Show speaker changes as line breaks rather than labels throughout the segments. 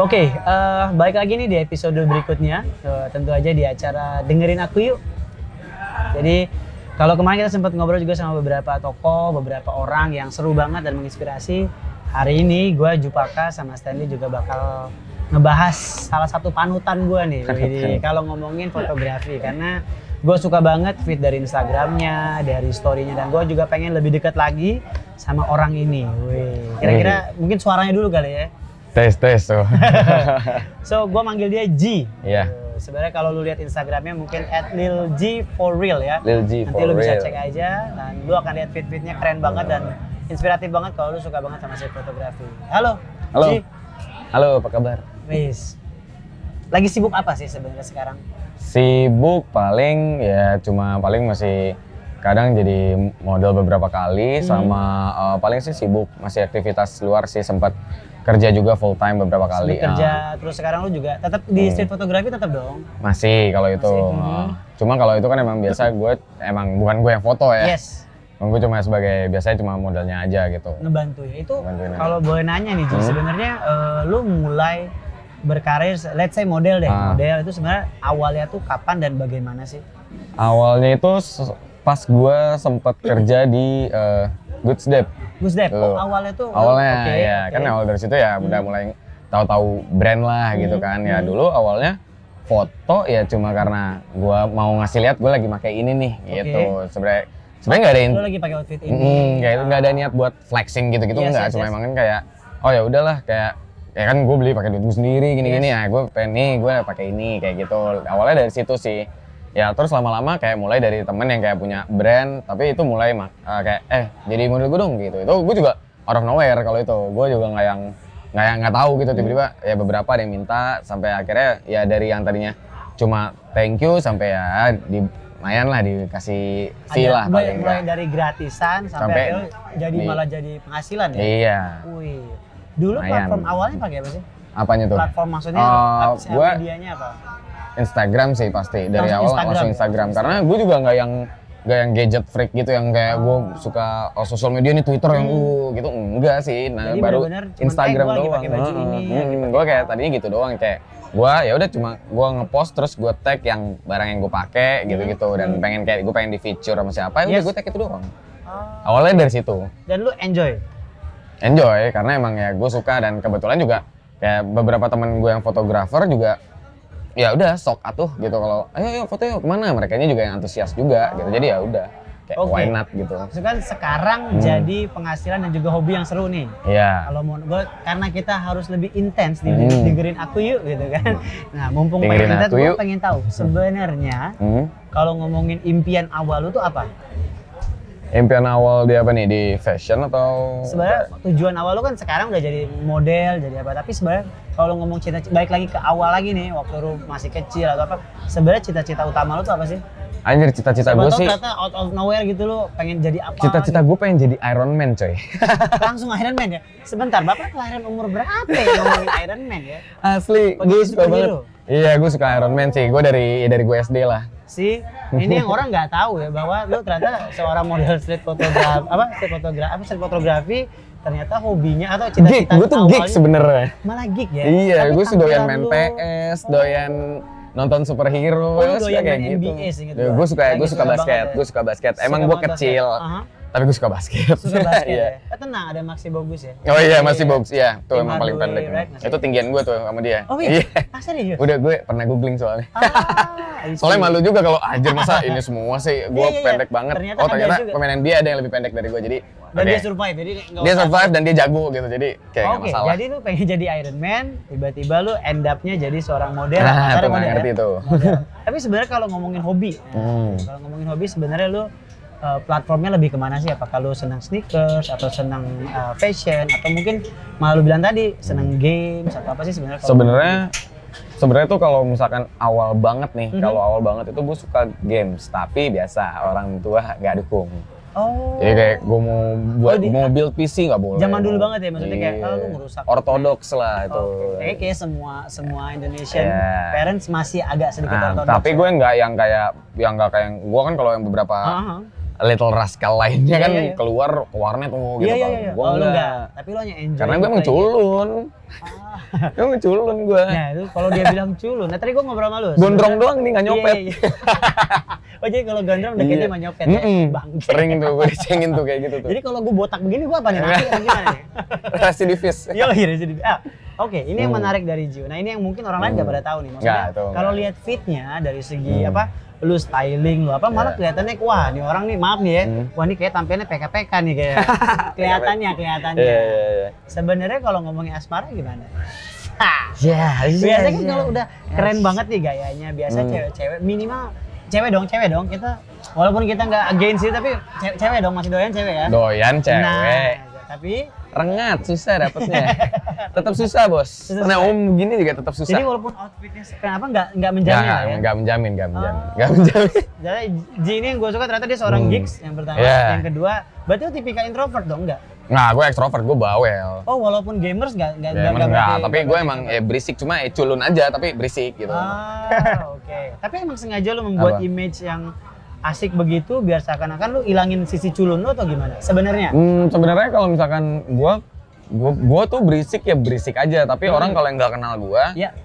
Oke, eh, balik lagi nih di episode berikutnya. Eh, tentu aja di acara dengerin aku yuk. Jadi kalau kemarin kita sempat ngobrol juga sama beberapa tokoh, beberapa orang yang seru banget dan menginspirasi. Hari ini gue Jupaka sama Stanley juga bakal ngebahas salah satu panutan gue nih. Jadi kalau ngomongin fotografi karena gue suka banget feed dari Instagramnya, dari storynya dan gue juga pengen lebih dekat lagi sama orang ini. Wih, kira-kira mungkin suaranya dulu kali ya.
Tes tes tuh.
So, gue manggil dia G.
Iya.
Eh, Sebenarnya kalau lu lihat Instagramnya mungkin at Lil G for real ya.
Lil G
Nanti
for
lu bisa
real.
cek ya. aja dan lu akan lihat fit-fitnya keren banget dan inspiratif banget kalau lu suka banget sama si fotografi. Halo.
Halo.
G.
Halo, apa kabar?
Wis. Lagi sibuk apa sih sebenarnya sekarang?
Sibuk paling ya cuma paling masih kadang jadi model beberapa
Hmm.
kali sama eh, paling sih sibuk masih aktivitas luar sih sempat kerja juga full time beberapa kali. Hmm.
Sibuk kerja terus sekarang lu juga tetap di street fotografi tetap dong.
Ah, masih kalau itu. Ah,
hmm.
Cuma kalau itu kan emang biasa gue emang bukan gue yang foto ya.
Yes.
Emang Gue cuma sebagai biasanya cuma modelnya aja gitu.
ngebantu ya itu
Ngebantuin Hmm.
kalau boleh nanya nih Ji sebenarnya eh, lu mulai berkarir let's say model deh
Ah.
model itu sebenarnya awalnya tuh kapan dan bagaimana sih
Awalnya itu s- pas gue sempat kerja di eh, Good Step.
Gus Dep oh,
Lu.
awalnya tuh lu-
awalnya
oke,
ya
oke. Hmm.
kan awal dari situ ya udah mulai tahu-tahu brand lah gitu kan ya dulu awalnya foto ya cuma karena gua mau ngasih lihat gua lagi pakai ini nih gitu sebenarnya sebenarnya nggak ada in-
lu lagi pakai outfit ini
Mm, kayak itu nggak ada niat buat flexing gitu-gitu
Yes,
nggak
yes,
cuma
yes.
emang kan kayak oh ya udahlah kayak ya kan gue beli pakai duit gue sendiri gini-gini ya gue pengen nih gue pakai ini kayak gitu awalnya dari situ sih ya terus lama-lama kayak mulai dari temen yang kayak punya brand tapi itu mulai mak- eh, kayak eh jadi model gue dong gitu itu gue juga out of nowhere kalau itu gue juga nggak yang nggak yang nggak tahu gitu tiba-tiba
Mm.
ya beberapa ada yang minta sampai akhirnya ya dari yang tadinya cuma thank you sampai ya di lumayan lah dikasih
Ada-
fee lah
mulai,
paling
mulai
nggak.
dari gratisan sampai,
Sampai
akhirnya jadi
di-
malah jadi penghasilan ya
Iya.
wih dulu
Lumayan.
platform awalnya pakai apa sih
Apanya tuh?
platform maksudnya
Eh,
platform
gua-
medianya apa
Instagram sih pasti dari
Langsung
awal
Instagram
langsung
ya?
Instagram. Karena gue juga nggak yang nggak yang gadget freak gitu yang kayak gue
Ah.
suka oh, sosial media nih Twitter yang uh gitu enggak sih. Nah,
Hmm. Jadi
baru
bener-bener cuman,
Instagram
eh, gua lagi
doang.
pakai baju ini, lagi
gue kayak tadinya gitu doang kayak gue ya udah cuma gue ngepost terus gue tag yang barang yang gue pakai gitu-gitu dan pengen kayak gue pengen di feature sama siapa ya udah
Hmm. Yes.
gue tag itu doang.
Ah,
Awalnya dari situ.
dan lu enjoy
enjoy karena emang ya gue suka dan kebetulan juga kayak beberapa temen gue yang fotografer juga ya udah sok atuh gitu kalau ayo ayo foto yuk kemana mereka juga yang antusias juga gitu jadi ya udah kayak
Oke.
why not gitu
Maksudnya kan sekarang
Hmm.
jadi penghasilan dan juga hobi yang seru nih
ya
kalau mau gue karena kita harus lebih intens di
Hmm.
dengerin aku yuk gitu kan nah mumpung
Dengerin
pengen intens
aku
gue
yuk.
pengen tahu sebenarnya
Hmm.
kalau ngomongin impian awal lu tuh apa
impian awal dia apa nih di fashion atau
sebenarnya tujuan awal lu kan sekarang udah jadi model jadi apa tapi sebenarnya kalau ngomong cita baik lagi ke awal lagi nih waktu lu masih kecil atau apa sebenarnya cita-cita utama lu tuh apa sih
anjir cita-cita
Siapa
gue
tahu
sih
ternyata out of nowhere gitu lu pengen jadi apa
cita-cita gue pengen jadi Iron Man coy
gitu. langsung Iron Man ya sebentar bapak kelahiran umur berapa ya ngomongin Iron Man ya
asli
Pengen
gue
jadi
suka banget
superhero.
iya gue suka Iron Man sih gue dari dari gue SD lah
si ini yang orang nggak tahu ya bahwa lu ternyata seorang model street photograph apa street photograph apa street fotografi ternyata hobinya atau
geek
cita-cita
gue tuh geek
awalnya-
sebenarnya
malah geek ya
Iya,
Tapi
gue sih
tampilan
doyan main
lu-
PS, doyan nonton superhero,
Oh, lu
suka
doyan main
gitu.
NBA seinget
Ya,
gua.
gue suka,
Lagi
gue suka
suka
basket,
banget ya.
gue suka basket.
Suka
Emang gue
banget
kecil,
basket. Aha.
tapi gue suka basket.
suka basket
Iya.
ya Eh, tenang ada Maxi bagus ya
Oh iya, masih Bobs, iya. Tuh
Tim
emang paling
Hardaway,
pendek.
right, masih.
Itu tinggian gue tuh sama dia.
oh iya
Iya.
ah serius
Udah gue pernah googling soalnya.
Ah, I see.
Soalnya malu juga kalau anjir masa ini semua sih gue
iya, iya.
pendek banget.
Ternyata
oh
ada
ternyata
juga.
pemain NBA ada yang lebih pendek dari gue jadi
dan
oke.
dia survive jadi nggak
dia
usah-
survive dan dia jago gitu jadi kayak nggak
Oke,
masalah.
jadi lu pengen jadi Iron Man, tiba-tiba lu end up-nya jadi seorang model.
Nah,
Sekarang
tuh nggak
model
ngerti
ya?
tuh.
Model. Tapi sebenarnya kalau ngomongin hobi, nah,
Hmm.
kalau ngomongin hobi sebenarnya lu eh, platformnya lebih kemana sih? Apakah lu senang sneakers atau senang eh, fashion atau mungkin malah lu bilang tadi senang games atau apa sih sebenarnya? kalau-
sebenarnya sebenarnya tuh kalau misalkan awal banget nih
Mhm.
kalau awal banget itu gue suka games tapi biasa orang tua nggak dukung
oh
jadi kayak gue mau buat
Oh, di-
mau build PC nggak boleh
Zaman dulu
Mau-
banget ya, maksudnya kayak,
Iya.
"Ah, lu ngerusak."
ortodoks lah itu
Kayaknya kayak semua semua Indonesian
Iya.
parents masih agak sedikit
Nah,
ortodoks.
tapi gue nggak yang kayak yang nggak kayak gue kan kalau yang beberapa
Aha.
Little Rascal lainnya
Ah. Iya,
kan
iya, iya.
keluar ke warnet tuh gitu
Iya iya
kan.
iya.
Gua
Oh lu
enggak.
enggak. Tapi lu hanya enjoy.
Karena gue emang
gitu aja.
culun. Gue emang culun gue.
Nah itu kalau dia bilang culun. Nah tadi gue ngobrol sama lu.
Gondrong
sebenarnya-
doang nih nggak nyopet.
Iya, iya. oh jadi kalau gondrong deketnya
Iya.
sama nyopet ya?
Mm-mm.
Bangke.
Sering tuh gue dicengin tuh kayak gitu tuh.
Jadi kalau gue botak begini gue apa nih? Mati apa gimana nih?
Rasidivis.
Iya iya jadi. Ah, Oke, ini yang
Hmm.
menarik dari Jio. Nah, ini yang mungkin orang lain nggak
Hmm.
pada tahu nih. Maksudnya
Nggak, itu
kalau
nggak.
lihat fitnya dari segi
Hmm.
apa, lu styling lu apa, malah
Iya.
kelihatannya wah nih orang nih maaf nih ya,
Hmm.
wah ini kayak tampilannya PKPK nih kayak. kelihatannya, kelihatannya.
Iya iya iya.
Sebenarnya kalau ngomongin asmara gimana? Hah,
Ya,
biasanya kan kalau udah keren banget nih gayanya, biasa
Hmm.
cewek-cewek minimal cewek dong, cewek dong kita walaupun kita nggak against sih tapi ce- cewek dong masih doyan cewek ya.
doyan cewek.
Nah, tapi
Rengat susah dapetnya. tetap susah, Bos.
Susah.
Karena om gini juga tetap susah.
jadi walaupun outfitnya kenapa nggak nggak
Nggak,
menjamin lah ya.
nggak, nggak menjamin, nggak menjamin.
Oh.
Nggak menjamin.
Jadi Ji ini yang gue suka ternyata dia seorang
Hmm.
geeks yang pertama,
Yeah.
yang kedua berarti lu tipikal introvert dong nggak?
Nggak, gue Nah, ekstrovert, gue bawel.
Oh walaupun gamers nggak nggak
Ya, emang enggak,
berarti-
tapi
nggak
gue
berarti
emang
introvert.
eh, berisik, cuma eh, culun aja, tapi berisik gitu.
Ah, oke. Tapi emang sengaja lu membuat
Apa?
image yang asik begitu biar seakan-akan lu ilangin sisi culun lu atau gimana? Sebenarnya.
Hmm, sebenarnya kalau misalkan gue gua, gua tuh berisik ya berisik aja tapi
Hmm.
orang kalau yang nggak kenal gue
Ya.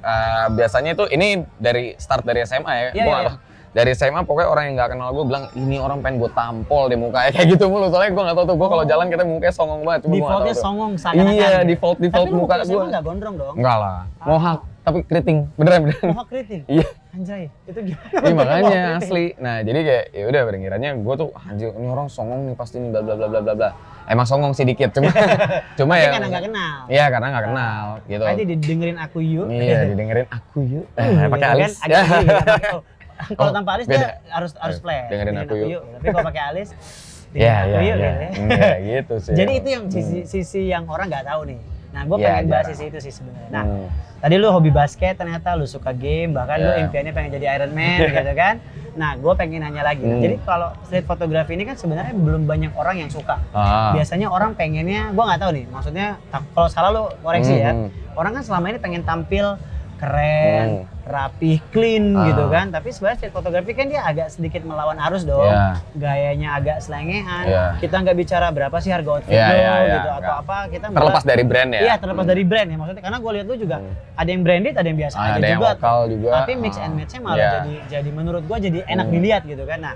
biasanya itu ini dari start dari SMA ya
Iya,
gua
iya,
nggak tahu. dari SMA pokoknya orang yang nggak kenal gue bilang ini orang pengen gue tampol deh mukanya kayak gitu mulu soalnya gue nggak tahu tuh gue kalau jalan kita mukanya songong banget cuma gua
Oh.
nggak
Defaultnya
tahu tuh.
songong seakan-akan.
iya
gitu.
default default
Tapi lu
muka
waktu
gue
SMA nggak Ah. gondrong dong.
enggak lah mohak tapi keriting beneran beneran
Mohak kritik.
iya
Anjay, itu gimana?
Iya
bentuknya
makanya
mohak kritik?
asli. Nah jadi kayak ya udah pada ngiranya gue tuh anjir ini orang songong nih pasti nih bla bla bla bla bla bla. Emang songong sih dikit cuma cuma
Tapi
ya.
karena kan nggak kenal. Ah.
Iya karena nggak kenal gitu.
Aja didengerin aku yuk.
Iya didengerin aku yuk. Eh,
Iya,
pakai
kan?
alis.
Agak gini, agak pakai- oh, Kalau
Oh,
tanpa alis
beda.
dia harus harus
Eh,
flat.
dengerin aku yuk.
Tapi kalau pakai alis
Iya
dengerin
iya
aku yuk
iya.
gitu ya.
Hmm, Iya gitu sih.
Jadi itu yang sisi, sisi yang orang nggak tahu nih. Nah, gue
Iya,
pengen bahas
jarang.
sisi itu sih sebenarnya. Nah,
Hmm.
tadi lu hobi basket, ternyata lu suka game, bahkan lu
Iya.
impiannya pengen jadi Iron Man gitu kan. Nah, gue pengen nanya lagi. Nah,
Hmm.
Jadi kalau street photography ini kan sebenarnya belum banyak orang yang suka.
Ah.
Biasanya orang pengennya, gue nggak tahu nih. Maksudnya tak- kalau salah lu koreksi ya.
Hmm.
Orang kan selama ini pengen tampil keren, rapih, clean
Ah.
gitu kan. Tapi sebenarnya street photography kan dia agak sedikit melawan arus dong
Iya.
gayanya agak selengean.
Iya.
Kita nggak bicara berapa sih harga outfit
Iya,
lo
iya, iya,
gitu atau
nggak.
apa. Kita malah-
Terlepas dari brand ya. Hmm.
Iya, terlepas dari brand ya maksudnya. Karena gue lihat lu juga ada yang branded, ada yang biasa aja
Ada yang
juga.
lokal juga.
Tapi mix
Ah.
and match-nya malah
Iya.
jadi jadi menurut gue jadi enak
Hmm.
dilihat gitu kan. Nah,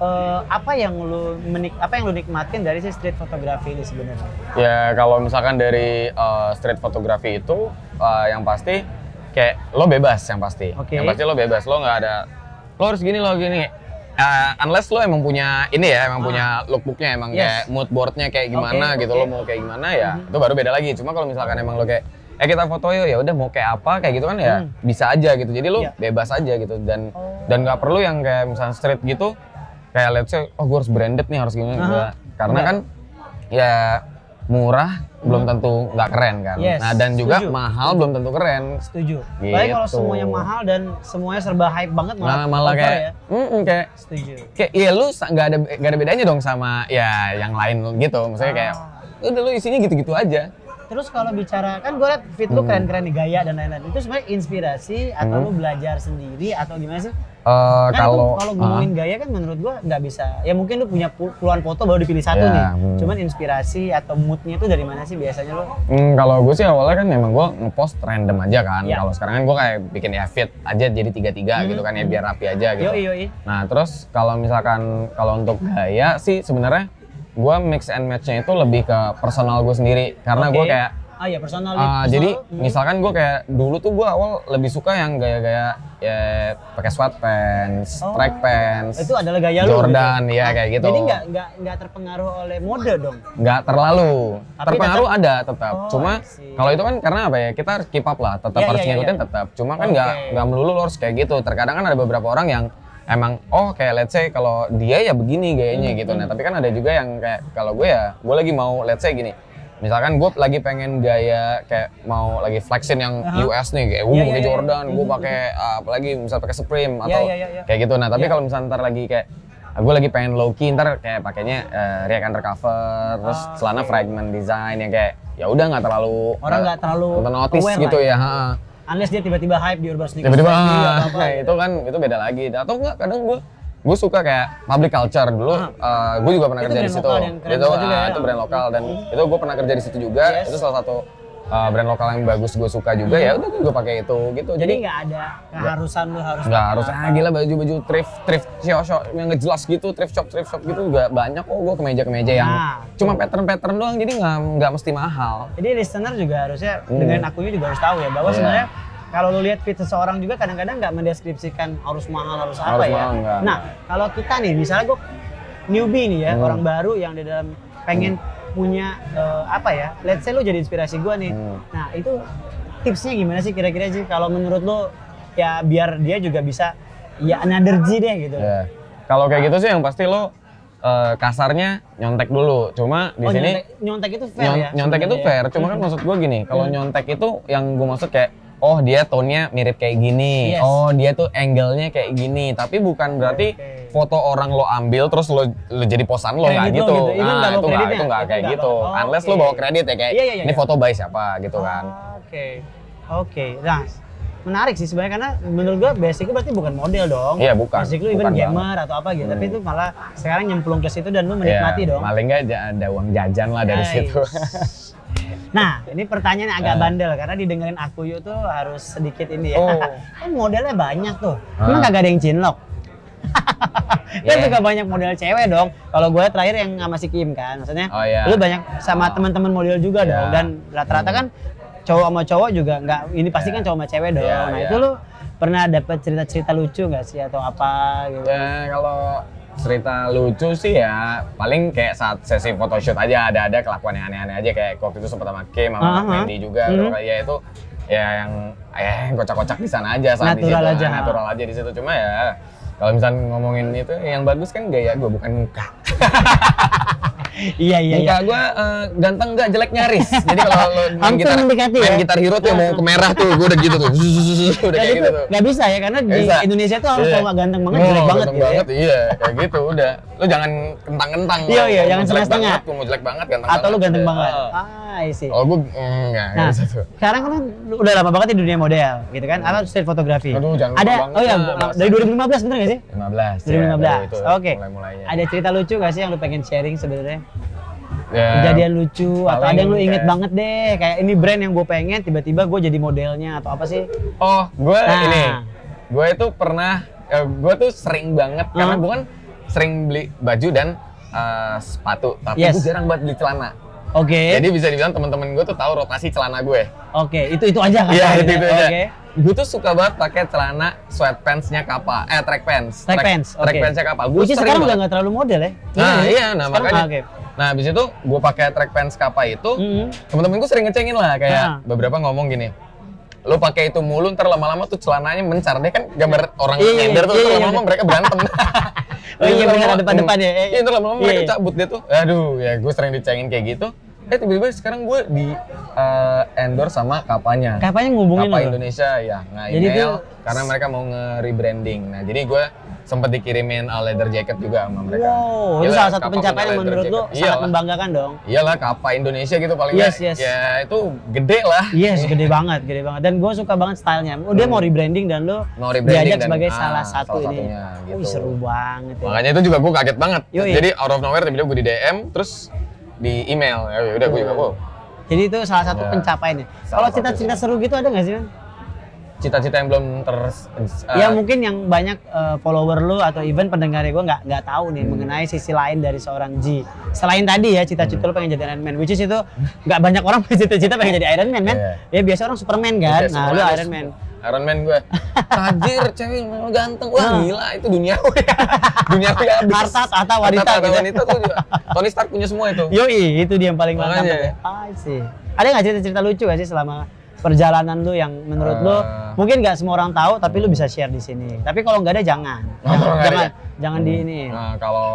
eh, apa yang lu menik apa yang lu nikmatin dari si street photography ini sebenarnya?
Ya kalau misalkan dari uh, street photography itu uh, yang pasti kayak lo bebas yang pasti.
Oke.
Yang pasti lo bebas, lo nggak ada lo harus gini lo gini. Uh, unless lo emang punya ini ya, emang
Ah.
punya lookbooknya, emang
Yes.
kayak mood boardnya kayak gimana
Oke,
gitu,
oke. Mm-hmm.
lo mau kayak gimana ya, itu baru beda lagi. Cuma kalau misalkan emang lo kayak eh kita foto yuk ya udah mau kayak apa kayak gitu kan ya
Hmm.
bisa aja gitu. Jadi lo
Iya.
bebas aja gitu dan
Oh.
dan nggak perlu yang kayak misalnya street gitu kayak let's say oh gue harus branded nih harus gini
Aha.
Nggak. karena
Nggak.
kan ya murah belum tentu nggak keren kan
Mm-hmm. Yes,
nah dan juga
setuju.
mahal belum tentu keren
Setuju. Tapi kalau
Gitu.
semuanya mahal dan semuanya serba hype banget
Nah, malah
malah
malah
over
kayak
ya.
mm-mm, kayak
Setuju.
kayak ya lu sa- nggak ada nggak ada bedanya dong sama ya yang lain gitu maksudnya kayak
Ah.
udah lu isinya gitu-gitu aja
Terus kalau bicara kan gue liat fit lu
Hmm.
keren-keren nih gaya dan lain-lain. Itu sebenarnya inspirasi atau
Hmm.
lu belajar sendiri atau gimana sih?
Eh,
Kan itu
kalau ah,
kalau ngomongin gaya kan menurut gua nggak bisa. Ya mungkin lu punya pu- puluhan foto baru dipilih satu
Ya,
nih.
hmm.
Cuman inspirasi atau moodnya itu dari mana sih biasanya lu?
Hmm, kalau gue sih awalnya kan memang gue ngepost random aja kan.
Iya.
Kalau sekarang kan gue kayak bikin ya fit aja jadi tiga-tiga
Mhm.
gitu kan ya biar rapi aja
Yo
gitu.
yo
Nah terus kalau misalkan kalau untuk gaya sih sebenarnya gue mix and match-nya itu lebih ke personal gue sendiri karena gue
Oke.
kayak
Ah ya personal.
ah,
personal
jadi
lu, hmm.
misalkan gue kayak dulu tuh gue awal lebih suka yang gaya-gaya ya pakai sweatpants,
Oh.
track pants,
itu adalah gaya lu. Ah,
Jordan, ya kayak gitu.
Jadi nggak nggak nggak terpengaruh oleh mode dong.
nggak terlalu
Tapi
terpengaruh ada tetap
Oh,
cuma
I see.
kalau itu kan karena apa ya kita harus keep up lah tetap
Iya,
harus
iya, iya,
ngikutin
iya.
tetap cuma kan nggak
Oke.
nggak melulu lo harus kayak gitu terkadang kan ada beberapa orang yang emang oh kayak let's say kalau dia ya begini
Hmm,
gayanya gitu nah tapi kan ada juga yang kayak kalau gue ya gue lagi mau let's say gini misalkan gue lagi pengen gaya kayak mau lagi flexin yang
Aha.
US nih kayak
Iya,
uh
iya,
pakai
iya, iya.
Jordan gue
Mhm.
pakai ah, apalagi misal pakai Supreme
Iya,
atau
iya, iya, iya.
kayak gitu nah tapi
Iya.
kalau misalnya ntar lagi kayak gue lagi pengen low key ntar kayak pakainya eh, React Undercover terus
Ah,
celana
oke.
fragment design yang kayak ya udah nggak terlalu
Orang nggak terlalu
nggak notice
aware
gitu
lah
ya ha.
Unless dia tiba-tiba hype di Urban Sneakers. Iya,
tiba-tiba
Factory atau
ah,
apa,
itu kan itu beda lagi atau nggak kadang gue gue suka kayak public culture dulu
Ah.
eh, gue juga pernah
Itu
kerja di
brand
situ
lokal yang keren
itu
banget juga
ah,
ya.
itu brand lokal dan itu gue pernah kerja di situ juga
Yes. Hmm.
itu salah satu eh, brand lokal yang bagus gue suka juga ya udah gue pakai itu gitu
Jadi nggak ada keharusan lu harus
nggak harus
pakai
ah gila baju-baju thrift thrift shop shop yang ngejelas gitu thrift shop thrift shop gitu juga banyak oh gue kemeja-kemeja yang
Nah.
cuma pattern-pattern doang jadi nggak nggak mesti mahal
Jadi listener juga harusnya
Hmm.
dengerin akunya juga harus tahu ya bahwa
Iya.
sebenarnya kalau lu lihat feed seseorang juga kadang-kadang nggak mendeskripsikan harus mahal harus apa
Harus
ya.
mahal, nggak,
nah kalau kita nih misalnya gue newbie nih ya
Hmm.
orang baru yang di dalam pengen punya eh, apa ya. Let's say lu jadi inspirasi gue nih.
Hmm.
Nah itu tipsnya gimana sih kira-kira sih kalau menurut lu ya biar dia juga bisa ya another G deh gitu.
ya kalau kayak gitu sih yang pasti lo eh, kasarnya nyontek dulu cuma
Oh,
di sini
nyontek, nyontek itu fair
Nyon-
ya. Hmm.
nyontek itu
sebenarnya ya?
fair, cuma kan maksud gue gini, kalau nyontek itu yang gue maksud kayak oh dia tone-nya mirip kayak gini,
Yes.
oh dia tuh angle-nya kayak gini, tapi bukan berarti
Oke.
foto orang lo ambil terus lo, lo jadi posan lo
Kredit
nggak
lo
gitu,
gitu, even nggak bawa
nah, itu nggak
kreditnya?
itu nggak
Itu
kayak
nggak
gitu,
bawa- oh,
unless lo
oke.
bawa kredit ya kayak
Iya, iya, iya,
ini
iya.
foto by siapa gitu kan,
Oke. Oke. Nah, menarik sih sebenarnya karena menurut gua basic lu berarti bukan model dong.
Iya, bukan.
Basic lu even
Bukan Hmm.
gamer atau apa gitu. Tapi itu malah sekarang nyemplung ke situ dan lu
Iya,
menikmati dong.
paling nggak ja- ada uang jajan lah dari
Nice.
situ.
Nah, ini pertanyaan agak
Ah.
bandel karena didengerin aku yuk tuh harus sedikit ini ya.
Oh.
kan modelnya banyak tuh.
Ah.
Emang kagak ada yang cinlok. Kan
Yeah.
juga banyak model cewek dong. Kalau gue terakhir yang sama si Kim kan, maksudnya
Oh, iya.
lu banyak sama
Ah.
teman-teman model juga dong.
Iya.
Dan rata-rata kan cowok sama cowok juga nggak. Ini pasti
Iya.
kan cowok sama cewek dong.
Iya,
nah
iya.
itu lu pernah dapat cerita-cerita lucu nggak sih atau apa gitu?
Ya kalau cerita lucu sih ya paling kayak saat sesi photoshoot aja ada-ada kelakuan yang aneh-aneh aja kayak waktu itu sempat sama Kim sama
Aha.
Mandy juga
Mhm.
kalau kayak ya itu ya yang eh yang kocak-kocak di sana aja saat di
Natural
situ
aja.
Nah, natural aja di situ cuma ya kalau misalnya ngomongin itu yang bagus kan gaya gue bukan muka
iya iya iya.
muka gue ganteng nggak jelek nyaris jadi kalau lo main
Langsung
gitar
mendekati
main
ya?
gitar hero tuh yang mau ke merah tuh gue udah gitu tuh udah
Dan
kayak
itu
gitu tuh
nggak bisa ya karena
Nggak
di
bisa.
Indonesia tuh harus
Iya.
kalau nggak ganteng banget
Oh,
jelek banget
ganteng
gitu. ya.
banget, iya kayak gitu udah lu jangan kentang-kentang
Iya, iya,
Lu
jangan
jelek
setengah-setengah.
banget, lu mau jelek banget ganteng iya,
Atau lu ganteng
udah.
banget.
Ah.
Ah, I see.
kalau gue enggak gitu. enggak
Nah,
bisa tuh
sekarang kan lu udah lama banget di dunia model, gitu kan? Apa street fotografi?
Aduh, jangan
Ada,
lama banget
oh iya,
lah, bahasa.
dari 2015 bener gak sih?
15 ya,
2015.
baru
Oke.
mulai-mulainya
Ada cerita lucu gak sih yang lu pengen sharing sebenarnya?
Ya,
Kejadian lucu atau ada yang lu
paling
inget
kayak-
banget deh, kayak ini brand yang gue pengen, tiba-tiba gue jadi modelnya atau apa sih?
oh gue
Nah.
ini gue itu pernah eh, gue tuh sering banget karena
Hmm.
gue kan sering beli baju dan eh, sepatu tapi
Yes. Iya.
gue jarang banget beli celana
Oke,
jadi bisa dibilang teman-teman gue tuh tahu rotasi celana ya. gue
oke, itu itu aja kan?
Iya itu itu aja.
Oke.
Gue tuh suka banget pakai celana sweatpantsnya kapal, eh track pants.
Track pants,
Track
oke.
pantsnya kapal. Gue
Which is
sering
sekarang udah
banget.
nggak terlalu model ya?
Nah
Bener ya?
iya, nah
Sekarang-
makanya.
ah, oke. Mm-hmm.
Nah abis itu gue pakai track pants kapal itu,
Mm-mm.
temen-temen gue sering ngecengin lah kayak
Ah.
beberapa ngomong gini. Lo pakai itu mulu, ntar lama-lama tuh celananya mencar deh kan gambar orang
Iya, iya,
nyender tuh,
iya,
ntar
iya,
lama-lama mereka berantem.
Oh iya,
Ntar
bener,
lama-lama-
depan-depan ya, iya,
Iya, ntar lama-lama
iya,
mereka
iya.
cabut dia tuh. Aduh, ya gue sering dicengin kayak gitu. Eh tiba-tiba sekarang gue di eh, endorse sama kapalnya.
Kapanya ngubungin
Kapal
lu?
Indonesia ya nah
Jadi
email
itu-
karena mereka mau nge-rebranding nah jadi gue sempet dikirimin all leather jacket juga sama mereka Iya,
Wow, itu
Gila,
salah satu
Kappa
pencapaian
punya
yang
leather
menurut lu
jacket.
sangat
Iyalah.
membanggakan dong.
iyalah kapal Indonesia gitu paling
Yes,
nggak,
yes. Iya.
ya itu gede lah
Yes, gede banget, gede banget. Dan gue suka banget stylenya. Oh, dia mau rebranding dan lo
Hmm. Mau rebranding
diajak
dan-
sebagai
ah,
salah satu
salah
ini.
satunya, gitu.
Wih, seru banget. Ya.
makanya itu juga gue kaget banget
Yoi.
jadi out of nowhere tiba-tiba gue di DM terus di email ya udah gue
Iya.
juga wow
Jadi itu salah satu
Ya.
pencapaiannya.
Salah
Kalau
satu
cerita-cerita seru gitu ada nggak sih, Man?
cita-cita yang belum ter eh,
ya mungkin yang banyak eh, follower lu atau even pendengarnya gue nggak nggak tahu
Hmm.
nih mengenai sisi lain dari seorang G. Selain tadi ya cita-cita lu
Hmm.
pengen jadi Iron Man, which is itu nggak banyak orang punya cita-cita pengen jadi Iron Man, man.
Iya.
Ya biasa orang Superman kan. nah,
Kayak semua
lu
Iya, ada
Iron Man.
Iron Man gue. Tajir, cewek memang ganteng. Wah,
Nah.
gila itu dunia gue. dunia gue habis.
Harta, tahta, wanita
Harta, tahta,
gitu.
wanita tuh juga. Tony Stark punya semua itu.
Yoi, itu dia yang paling mantap.
Makanya.
Ya. Ah, sih. Ada nggak cerita-cerita lucu gak sih selama perjalanan lu yang menurut lu
Eh.
mungkin nggak semua orang tahu tapi lu bisa share di sini. Tapi kalau nggak ada jangan.
Oh, kalau
Jangan
nggak ada
jangan,
ya?
jangan di ini.
Nah, kalau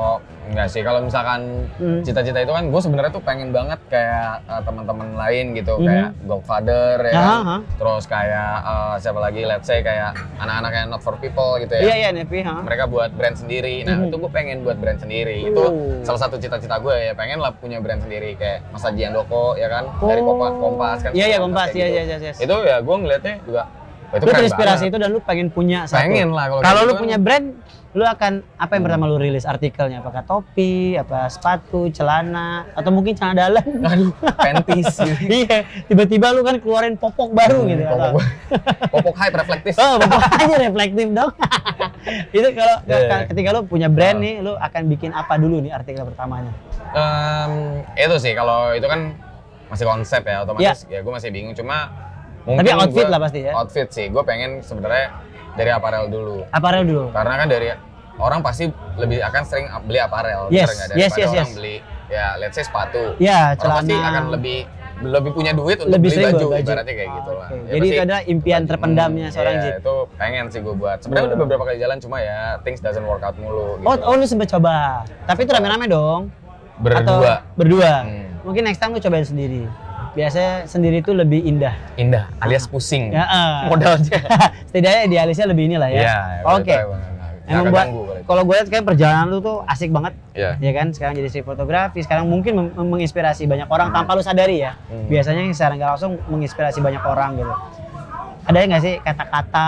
enggak sih, kalau misalkan
Iya. Hmm.
cita-cita itu kan gue sebenarnya tuh pengen banget kayak eh, teman-teman lain gitu,
Mhm.
kayak Godfather ya.
Aha,
kan.
aha.
Terus kayak eh, siapa lagi? Let's say kayak anak-anak yang not for people gitu ya.
Iya iya Nevi, ha.
mereka buat brand sendiri. Nah,
Mhm.
itu gue pengen buat brand
Oh.
sendiri. Itu salah satu cita-cita gue ya, pengen lah punya brand sendiri kayak Mas Haji Andoko ya kan, dari
Oh.
Kompas, Kompas kan.
Iya, iya,
kayak
Kompas, iya,
gitu.
iya, iya, iya.
Itu ya gue ngelihatnya juga Itu
lu
keren
terinspirasi
banget.
itu dan lu pengen punya satu.
Pengen lah kalau
Kalau
kayak
lu
gitu Hmm.
punya
kan.
brand, lu akan apa yang pertama lu rilis artikelnya? Apakah topi, apa sepatu, celana, atau mungkin celana dalam?
Aduh, panties gitu.
iya, tiba-tiba lu kan keluarin popok baru gitu.
Hmm, Popok,
atau-
popok hype reflektif.
Oh, popok aja reflektif dong. itu kalau
Iya, iya.
ketika lu punya brand
Oh.
nih, lu akan bikin apa dulu nih artikel pertamanya?
Em, itu sih kalau itu kan masih konsep ya otomatis ya gue masih bingung cuma mungkin
Iya. Tapi outfit
gua-
lah pasti ya?
outfit sih gue pengen sebenarnya dari aparel dulu
Aparel dulu.
karena kan dari orang pasti lebih akan sering beli aparel
Yes,
bener nggak?
yes,
daripada
yes,
orang
yes.
beli ya let's say sepatu
Ya,
orang pasti
celana.
akan lebih lebih punya duit untuk
Lebih
beli
sering
baju,
buat baju.
ibaratnya kayak
Ah,
gitu lah
oke.
Ya,
Jadi itu
pasti
adalah impian
baju-
terpendamnya
Hmm,
seorang
iya,
Jit.
itu pengen sih gue buat sebenarnya udah beberapa kali jalan cuma ya things doesn't work out mulu gitu.
Oh, oh lu sempat coba. Tapi itu rame-rame dong. Atau
berdua
berdua.
Hmm.
Mungkin next time lu cobain sendiri. Biasanya sendiri itu lebih indah.
indah alias pusing
Ya, eh.
Hmm. modalnya Iya,
Setidaknya idealisnya lebih inilah ya. Oke. Emang buat kalau gue lihat kayak perjalanan lu tuh asik banget.
Iya.
Ya kan sekarang jadi si fotografi, sekarang mungkin mem- mem- menginspirasi banyak orang tanpa lu sadari ya.
Hmm.
Biasanya yang secara nggak langsung menginspirasi banyak orang gitu. Ada nggak sih kata-kata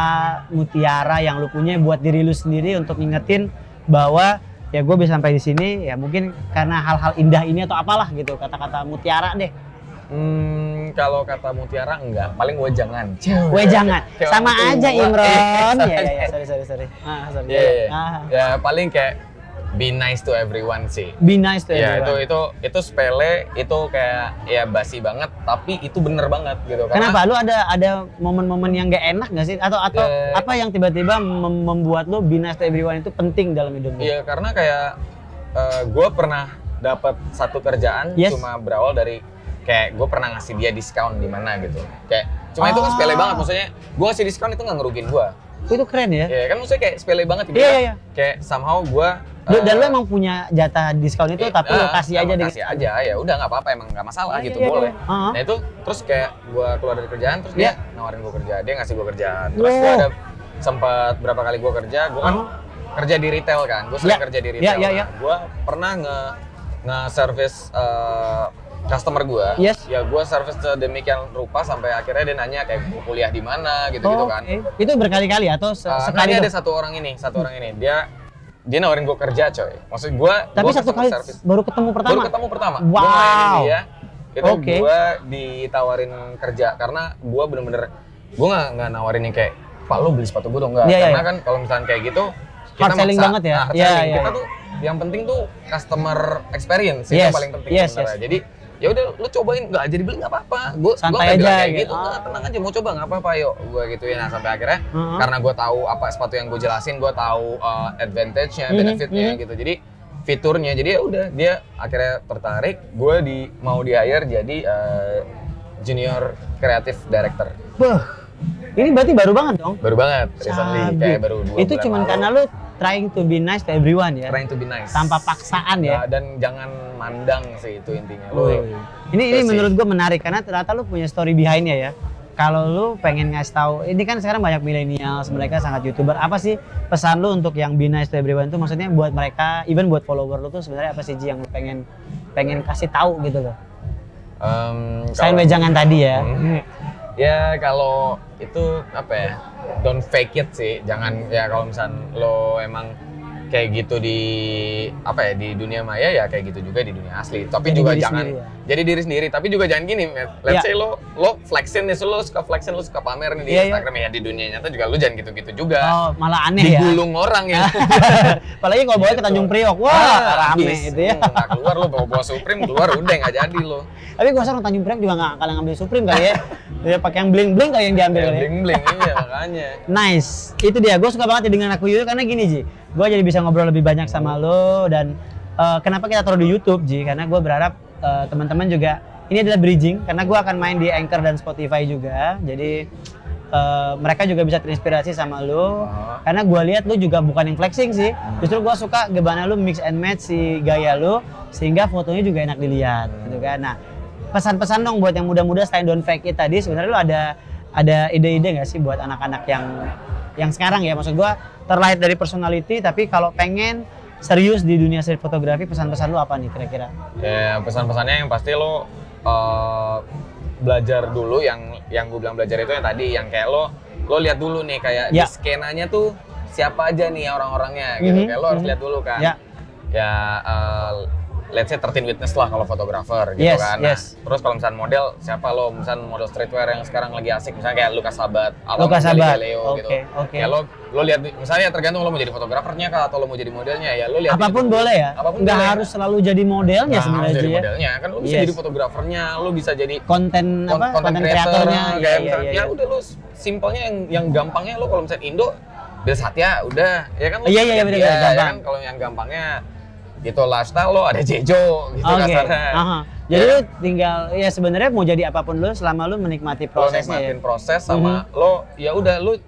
mutiara yang lu punya buat diri lu sendiri untuk ngingetin bahwa ya gue bisa sampai di sini ya mungkin karena hal-hal indah ini atau apalah gitu kata-kata mutiara deh.
Hmm, kalau kata mutiara enggak, paling gue jangan.
Gue jangan.
Cewek
Sama
tua.
aja Imron. Ya
Iya,
ya ya
sama
sorry sorry sorry. Ah, sorry.
Iya, iya.
Ah.
Ya paling kayak be nice to everyone sih.
Be nice to
Ya itu
everyone.
itu itu sepele, itu kayak ya basi banget, tapi itu bener banget gitu.
Kenapa lu ada ada momen-momen yang gak enak gak sih atau atau
Eh.
apa yang tiba-tiba mem- membuat lu be nice to everyone itu penting dalam hidup lu?
Iya karena kayak gue pernah dapat satu kerjaan
Yes.
cuma berawal dari kayak gue pernah ngasih dia diskon di mana gitu. Kayak cuma itu kan sepele
Ah.
banget maksudnya gue ngasih diskon itu nggak ngerugin gue.
Itu keren ya.
Ya kan maksudnya kayak sepele banget gitu.
Iya, iya, iya.
Kayak somehow eh, gue
Lu- dan lu emang punya jatah diskon itu tapi lu kasih aja dengan
Eh, kasih aja ya udah nggak apa-apa emang nggak masalah
Iya,
gitu
iya, iya.
boleh.
Ah.
Nah itu terus kayak gue keluar dari kerjaan terus
Iya.
dia nawarin gue kerja dia ngasih gue kerjaan terus
Wow.
gue ada sempat berapa kali gue kerja gue kan
Ah.
kerja di retail kan gue sering
Iya.
kerja di
Iya,
retail
iya, iya.
gue pernah nge nge service customer gue
Yes.
ya gue service sedemikian rupa sampai akhirnya dia nanya kayak gue kuliah di mana gitu gitu
Oh,
kan
oke. Itu berkali-kali atau se-
Uh, nah,
sekali
ini ada
doang?
satu orang ini, satu orang ini. Dia dia nawarin gue kerja, coy. Maksud gue,
Tapi satu kali baru ketemu pertama.
Baru ketemu pertama.
Wow.
Gua ngelayanin dia. Itu
Oke.
gue ditawarin kerja karena gue bener-bener gue nggak nggak nawarin yang kayak Pak lo beli sepatu gue dong nggak?
Iya, iya,
karena
iya.
kan kalau misalkan kayak gitu
Hard selling banget ya?
Nah, hard
Iya,
selling.
iya,
kita
iya.
tuh yang penting tuh customer experience itu
Yes,
yang paling penting
yes,
sebenarnya.
yes.
Jadi ya udah lu cobain nggak jadi beli nggak apa-apa. Gue
Santai
kayak
aja
bilang kayak
gitu.
gitu. "Nggak,
Ah.
tenang aja mau coba nggak apa-apa yuk gue gituin nah sampai akhirnya
Heeh.
karena gue tahu apa sepatu yang gue jelasin gue tahu uh, advantage-nya
Mhm,
benefit-nya
mhm.
gitu jadi fiturnya jadi ya udah dia akhirnya tertarik gue di mau di hire jadi uh, junior creative director
Beuh. Ini berarti baru banget dong.
baru banget recently
Sabi.
kayak baru dua
Itu
bulan
cuman
lalu.
karena lu trying to be nice to everyone ya.
trying to be nice
Tanpa paksaan ya.
Nah, dan jangan mandang sih itu intinya ya. lo
Woi. Ini ini
Terus sih.
menurut gue menarik karena ternyata lu punya story behind-nya ya. Kalau lu pengen ngasih tahu, ini kan sekarang banyak milenial, mereka sangat youtuber. Apa sih pesan lu untuk yang be nice to everyone itu? Maksudnya buat mereka, even buat follower lu tuh sebenarnya apa sih Ji yang lu pengen pengen kasih tahu gitu loh?
um,
Selain
kalau-
wejangan tadi ya.
Hmm. Ya kalau itu apa ya? Don't fake it sih. Jangan ya kalau misal lo emang kayak gitu di apa ya di dunia maya ya kayak gitu juga di dunia asli. Tapi
Jadi
juga
diri
jangan
sendiri
jadi diri sendiri. Tapi juga jangan gini. Matt.
Ya.
Let's say lo lo flexin nih, lo suka flexin, lo suka pamer nih di
Iya, iya.
Instagram ya di dunia nyata juga lo jangan gitu-gitu juga.
Oh, malah aneh ya.
Digulung orang ya.
Apalagi kalau bawa ke Tanjung Priok, wah rame
Ah, habis.
gitu ya.
Hmm, nggak keluar lo bawa bawa Supreme keluar udah nggak jadi lo.
Tapi gua rasa orang Tanjung Priok juga nggak akan ngambil Supreme kali ya. Dia pakai yang bling-bling kali yang diambil kali ya.
Bling bling iya makanya.
Nice, itu dia. Gue suka banget ya dengan aku Yu karena gini Ji, gue jadi bisa ngobrol lebih banyak sama lo dan eh, kenapa kita taruh di YouTube Ji? Karena gue berharap eh, teman-teman juga ini adalah bridging karena gue akan main di Anchor dan Spotify juga, jadi eh, mereka juga bisa terinspirasi sama lo.
Oh.
Karena gue lihat lu juga bukan yang flexing sih, justru gue suka gimana lu mix and match si gaya lu sehingga fotonya juga enak dilihat, gitu kan? Nah, pesan-pesan dong buat yang muda-muda selain don't fake it tadi, sebenarnya lu ada ada ide-ide nggak sih buat anak-anak yang yang sekarang ya? Maksud gue terlahir dari personality, tapi kalau pengen serius di dunia street fotografi, pesan-pesan lu apa nih kira-kira?
Ya, pesan-pesannya yang pasti lo eh, uh, belajar dulu yang yang gue bilang belajar itu yang tadi yang kayak lo lo lihat dulu nih kayak
Ya.
di skenanya tuh siapa aja nih orang-orangnya
Mhm,
gitu kayak lo harus
mhm.
lihat dulu kan
Ya.
ya eh, let's say 13 witness lah kalau fotografer gitu
Yes,
kan
yes.
terus kalau misalnya model siapa lo misalnya model streetwear yang sekarang lagi asik misalnya kayak Lukas Sabat Alam
Lukas Sabat.
Galileo gitu
Oke, oke.
ya lo lo lihat misalnya tergantung lo mau jadi fotografernya kah atau lo mau jadi modelnya ya lo lihat
Apapun
itu.
boleh ya.
Apapun
Nggak
boleh.
harus selalu jadi modelnya
Nggak harus
sebenarnya Ji,
jadi
ya.
Nah, modelnya kan lo bisa
Yes.
jadi fotografernya lo bisa jadi
Konten apa?
Kon-
Konten
creator,
kreatornya. Iya,
kayak
iya,
misalnya,
iya.
ya udah lu simpelnya yang yang gampangnya lu kalau misalnya Indo Bill Satya udah ya kan lu
Iya, iya, iya,
lihat
bener,
dia,
bener,
ya
gampang.
kan kalau yang gampangnya gitu lifestyle lo ada Jejo gitu
Oke.
kasarnya
aha. Jadi lu tinggal ya sebenarnya mau jadi apapun lu selama lu menikmati
lo
prosesnya ya. Mhm.
nikmatin proses sama lo ya udah lu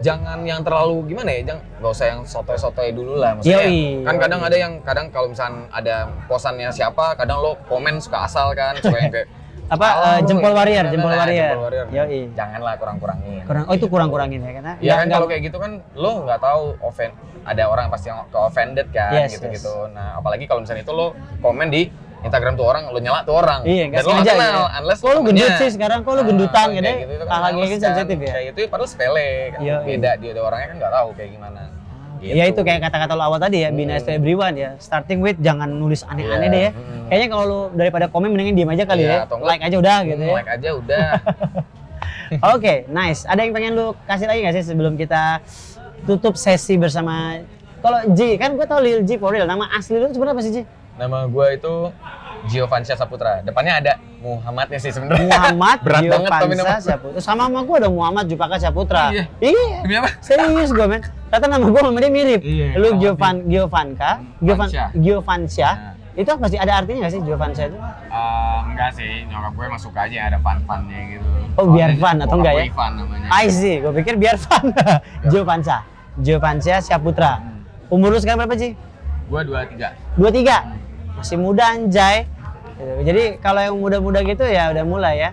jangan yang terlalu gimana ya jangan nggak usah yang sotoy-sotoy dulu lah maksudnya
Yoi,
kan kadang
yoi.
ada yang kadang kalau misalnya ada posannya siapa kadang lo komen suka asal kan suka yang kayak
Apa,
"Alah,
eh,
lu,
jempol
ini,
warrior,
nah, nah,
jempol
nah,
warrior."
jempol warrior
Yoi.
janganlah kurang-kurangin Gitu.
Kurang oh itu kurang-kurangin ya karena
Iya kan
nggak-
kalau kayak gitu kan lo nggak tahu offend ada orang pasti yang ke offended kan
Yes,
gitu-gitu. Nah, apalagi kalau misalnya itu lo komen di Instagram tuh orang lo nyela tuh orang.
Iya, nggak
Dan lo nggak
sengaja
kenal
ya.
unless
Kok lo
temennya-
gendut sih sekarang? Kok lo
Ah,
gendutan?
kayak
Jadi
itu kan
hal-hal kayak
unless
gitu
kan.
sensitif ya?
Kayak itu padahal sepele kan.
Iya, iya.
Beda dia ada orangnya kan nggak tahu kayak gimana.
Ya
gitu.
itu kayak kata-kata lo awal tadi ya, be nice to everyone ya. Starting with jangan nulis aneh-aneh
Hmm. Iya,
deh ya.
mm.
Kayaknya kalau lo daripada komen mendingan diem aja kali
Iya,
ya.
atau enggak, hmm,
Like aja udah gitu ya.
Like aja udah.
Oke, nice. Ada yang pengen lu kasih lagi nggak sih sebelum kita tutup sesi bersama kalau J kan gue tau Lil J for real nama asli lu sebenarnya apa sih J?
Nama gue itu Giovansyah Saputra. Depannya ada Muhammadnya sih sebenarnya.
Muhammad
Berat
Gio
banget tapi nama.
Pansa Saputra. Sama sama gue ada Muhammad Jupaka Saputra.
Iya.
Iya.
Demi apa?
Serius gue men. Kata nama gue sama dia mirip.
Iya, Hmm,
Lu
sama
Giovan Giovanka, Giovan
Fansya. Iya.
Giovansya. Itu apa sih? Ada artinya nggak sih Giovansya itu?
Eh, enggak sih, nyokap gue masuk aja ada fan-fannya gitu.
Oh, biar fun atau enggak ya?
Fan namanya.
I see. Gue pikir biar fun. Giovansya. Giovansya Saputra.
Hmm.
Umur lu sekarang berapa sih?
Gue dua tiga.
dua tiga masih muda anjay Gitu. jadi kalau yang muda-muda gitu ya udah mulai ya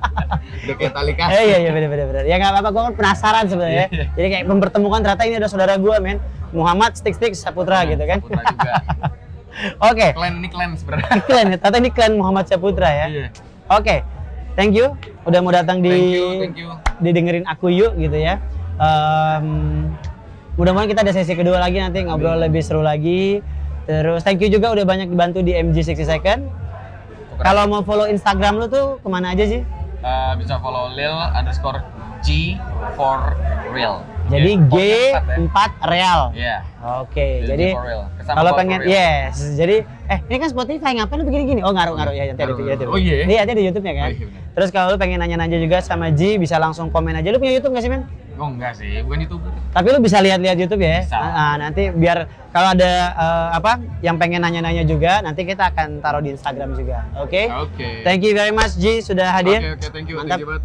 Udah kayak tali
Eh, iya iya bener bener bener ya nggak apa-apa gue kan penasaran sebenarnya
Iya.
jadi kayak mempertemukan ternyata ini ada saudara gue men Muhammad Stik Stik Saputra
Iya,
gitu kan
Putra juga.
oke
Klan ini klan sebenarnya.
klan ya ternyata ini klan Muhammad Saputra ya
Iya.
oke thank you udah mau datang di
Thank you, thank you.
didengerin aku yuk gitu ya. Em, Mudah-mudahan kita ada sesi kedua lagi nanti ngobrol lebih seru lagi. Terus thank you juga udah banyak dibantu di MG 60 Second. Kalau mau follow Instagram lu tuh kemana aja sih?
Eh, bisa follow Lil underscore G for real.
Jadi
Iya,
G
pokoknya empat ya.
4 Real.
Iya.
Oke,
Lil
jadi
G for real. Kesama
kalau
gua
pengen
for real.
yes. Jadi eh ini kan Spotify ngapain lu begini gini? Oh ngaruh ngaruh ya nanti ada di
Ngaruh,
YouTube.
ngaruh. Oh, iya ya?
Iya, nanti ada YouTube-nya kan.
Oh, iya, benar.
Terus kalau lu pengen nanya-nanya juga sama Ji bisa langsung komen aja. Lu punya YouTube gak sih, men?
Gue Oh, enggak sih, bukan youtuber.
Tapi lu bisa lihat-lihat YouTube ya.
Bisa.
Ah, ah, nanti biar kalau ada eh, apa yang pengen nanya-nanya juga, nanti kita akan taruh di Instagram juga. Oke.
Oke.
Thank you very much Ji sudah hadir.
Oke, oke, thank you.
Mantap.
Thank you banget.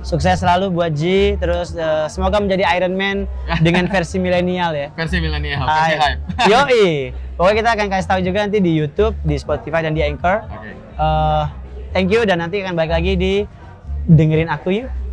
Sukses selalu buat Ji. Terus eh, semoga menjadi Iron Man dengan versi milenial ya.
Versi milenial, versi hype.
Yoi. Pokoknya kita akan kasih tahu juga nanti di YouTube, di Spotify dan di Anchor.
Oke.
Eh, thank you dan nanti akan balik lagi di dengerin aku yuk.